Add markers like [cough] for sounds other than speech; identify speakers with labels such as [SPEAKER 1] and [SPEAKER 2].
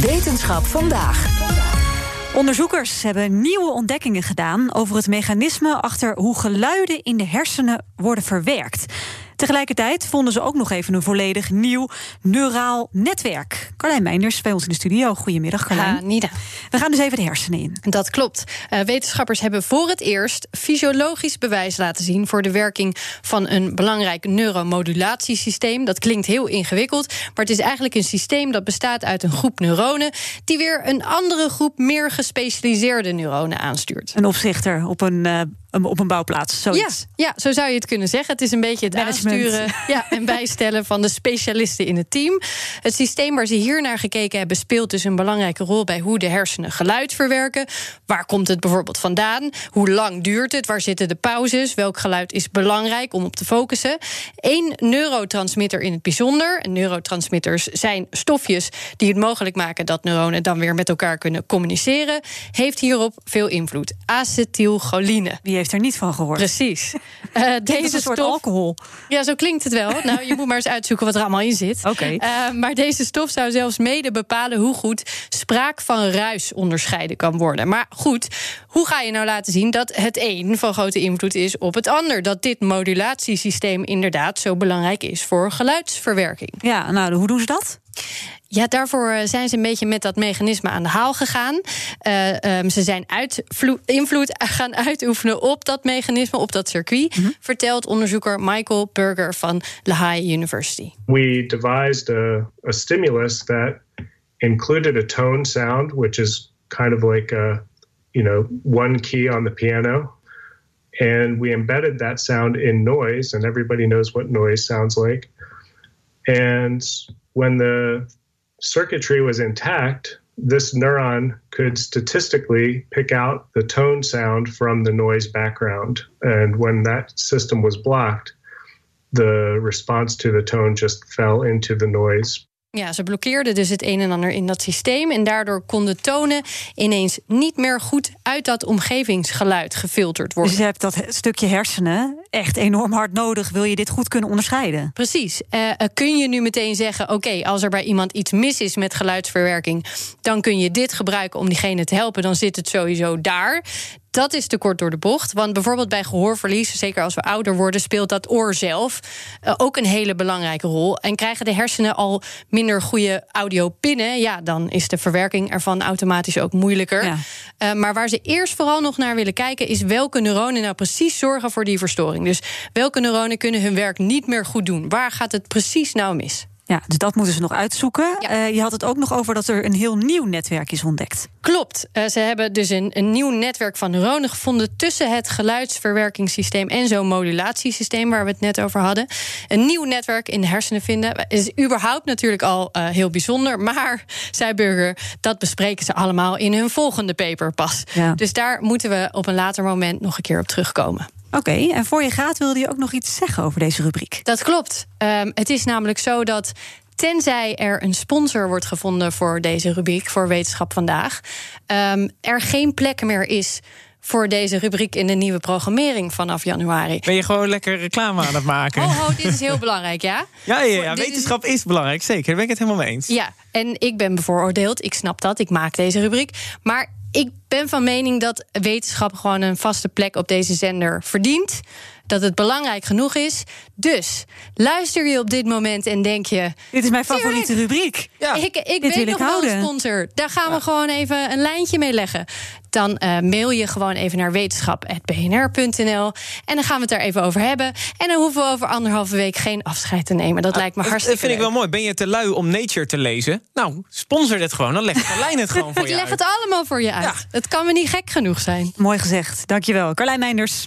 [SPEAKER 1] Wetenschap vandaag.
[SPEAKER 2] Onderzoekers hebben nieuwe ontdekkingen gedaan over het mechanisme achter hoe geluiden in de hersenen worden verwerkt. Tegelijkertijd vonden ze ook nog even een volledig nieuw neuraal netwerk. Carlijn Meinders bij ons in de studio. Goedemiddag, Carlijn.
[SPEAKER 3] Ja, Nida.
[SPEAKER 2] We gaan dus even de hersenen in.
[SPEAKER 3] Dat klopt. Uh, wetenschappers hebben voor het eerst fysiologisch bewijs laten zien voor de werking van een belangrijk neuromodulatiesysteem. Dat klinkt heel ingewikkeld, maar het is eigenlijk een systeem dat bestaat uit een groep neuronen die weer een andere groep meer gespecialiseerde neuronen aanstuurt.
[SPEAKER 2] Een opzichter op een uh, op een bouwplaats. Zoiets.
[SPEAKER 3] Ja, ja, zo zou je het kunnen zeggen. Het is een beetje het
[SPEAKER 2] Management.
[SPEAKER 3] aansturen ja, en bijstellen van de specialisten in het team. Het systeem waar ze hier naar gekeken hebben, speelt dus een belangrijke rol bij hoe de hersenen geluid verwerken. Waar komt het bijvoorbeeld vandaan? Hoe lang duurt het? Waar zitten de pauzes? Welk geluid is belangrijk om op te focussen? Eén neurotransmitter in het bijzonder. En neurotransmitters zijn stofjes die het mogelijk maken dat neuronen dan weer met elkaar kunnen communiceren. Heeft hierop veel invloed. Acetylcholine.
[SPEAKER 2] Wie heeft er niet van gehoord? [laughs]
[SPEAKER 3] Precies. Eh,
[SPEAKER 2] Dit is een soort alcohol.
[SPEAKER 3] Ja, zo klinkt het wel. Nou, je moet maar eens uitzoeken wat er allemaal in zit.
[SPEAKER 2] Oké.
[SPEAKER 3] Eh, maar deze stof zou zelfs mede bepalen hoe goed spraak van ruis onderscheiden kan worden. Maar goed, hoe ga je nou laten zien dat het een van grote invloed is op het ander? Dat dit modulatiesysteem inderdaad zo belangrijk is voor geluidsverwerking.
[SPEAKER 2] Ja, nou, hoe doen ze dat?
[SPEAKER 3] Ja, daarvoor eh, zijn ze een beetje met dat mechanisme aan de haal gegaan. Eh, ehm, ze zijn uitvloe- invloed [laughs] gaan uitoefenen op dat mechanisme, op dat circuit, vertelt onderzoeker Michael Burger van Lehigh University.
[SPEAKER 4] we devised a, a stimulus that included a tone sound, which is kind of like a, you know, one key on the piano. And we embedded that sound in noise, and everybody knows what noise sounds like. And when the circuitry was intact, this neuron could statistically pick out the tone sound from the noise background. And when that system was blocked, the response to the tone just fell into the noise.
[SPEAKER 3] Ja, ze blokkeerden dus het een en ander in dat systeem. En daardoor konden tonen ineens niet meer goed uit dat omgevingsgeluid gefilterd worden.
[SPEAKER 2] Dus je hebt dat he- stukje hersenen echt enorm hard nodig. Wil je dit goed kunnen onderscheiden?
[SPEAKER 3] Precies. Eh, eh, kun je nu meteen zeggen: oké, als er bij iemand iets mis is met geluidsverwerking, dan kun je dit gebruiken om diegene te helpen, dan zit het sowieso daar. Dat is te kort door de bocht. Want bijvoorbeeld bij gehoorverlies, zeker als we ouder worden, speelt dat oor zelf eh, ook een hele belangrijke rol. En krijgen de hersenen al minder goede audio binnen, ja, dan is de verwerking ervan automatisch ook moeilijker.
[SPEAKER 2] Ja.
[SPEAKER 3] Eh, maar waar ze eerst vooral nog naar willen kijken, is welke neuronen nou precies zorgen voor die verstoring. Dus welke neuronen kunnen hun werk niet meer goed doen? Waar gaat het precies nou mis?
[SPEAKER 2] Ja, dus dat moeten ze nog uitzoeken.
[SPEAKER 3] Ja.
[SPEAKER 2] Eh, je had het ook nog over dat er een heel nieuw netwerk is ontdekt.
[SPEAKER 3] Klopt. Eh, ze hebben dus een, een nieuw netwerk van neuronen gevonden tussen het geluidsverwerkingssysteem en zo'n modulatiesysteem waar we het net over hadden. Een nieuw netwerk in de hersenen vinden is überhaupt natuurlijk al eh, heel bijzonder. Maar, zei Burger, dat bespreken ze allemaal in hun volgende paper pas.
[SPEAKER 2] Ja.
[SPEAKER 3] Dus daar moeten we op een later moment nog een keer op terugkomen.
[SPEAKER 2] Oké, en voor je gaat wilde je ook nog iets zeggen over deze rubriek.
[SPEAKER 3] Dat klopt. Ehm, het is namelijk zo dat. Tenzij er een sponsor wordt gevonden voor deze rubriek, voor Wetenschap vandaag, ehm, er geen plek meer is voor deze rubriek in de nieuwe programmering vanaf januari.
[SPEAKER 5] Ben je gewoon lekker reclame aan het maken?
[SPEAKER 3] Oh, ho, dit is heel belangrijk, ja?
[SPEAKER 5] [laughs] Ja, ja, ja,
[SPEAKER 3] Dit is-
[SPEAKER 5] wetenschap is belangrijk, zeker. Daar ben ik het helemaal mee eens.
[SPEAKER 3] Ja, en ik ben bevooroordeeld. Ik snap dat. Ik maak deze rubriek. Maar ik ben van mening dat wetenschap gewoon een vaste plek op deze zender verdient. Dat het belangrijk genoeg is. Dus luister je op dit moment en denk je.
[SPEAKER 2] Dit is mijn favoriete
[SPEAKER 3] Tuurlijk.
[SPEAKER 2] rubriek.
[SPEAKER 5] Ja,
[SPEAKER 3] ik ik
[SPEAKER 2] wil
[SPEAKER 3] weet
[SPEAKER 2] ik
[SPEAKER 3] nog wel
[SPEAKER 2] houden.
[SPEAKER 3] een sponsor. Daar gaan we gewoon even een lijntje mee leggen. Dan eh, mail je gewoon even naar wetenschap.bnr.nl. En dan gaan we het daar even over hebben. En dan hoeven we over anderhalve week geen afscheid te nemen. Dat lijkt me
[SPEAKER 5] Ah, Dat-
[SPEAKER 3] hartstikke
[SPEAKER 5] Dat vind ik
[SPEAKER 3] leuk.
[SPEAKER 5] wel mooi. Ben je te lui om Nature te lezen? Nou, sponsor dit gewoon. Dan legt Carlijn het gewoon voor
[SPEAKER 3] Ik
[SPEAKER 5] je uit.
[SPEAKER 3] leg het allemaal voor je uit. Het kan me niet gek genoeg zijn.
[SPEAKER 2] Mooi gezegd. Dankjewel. Carlijn Meinders.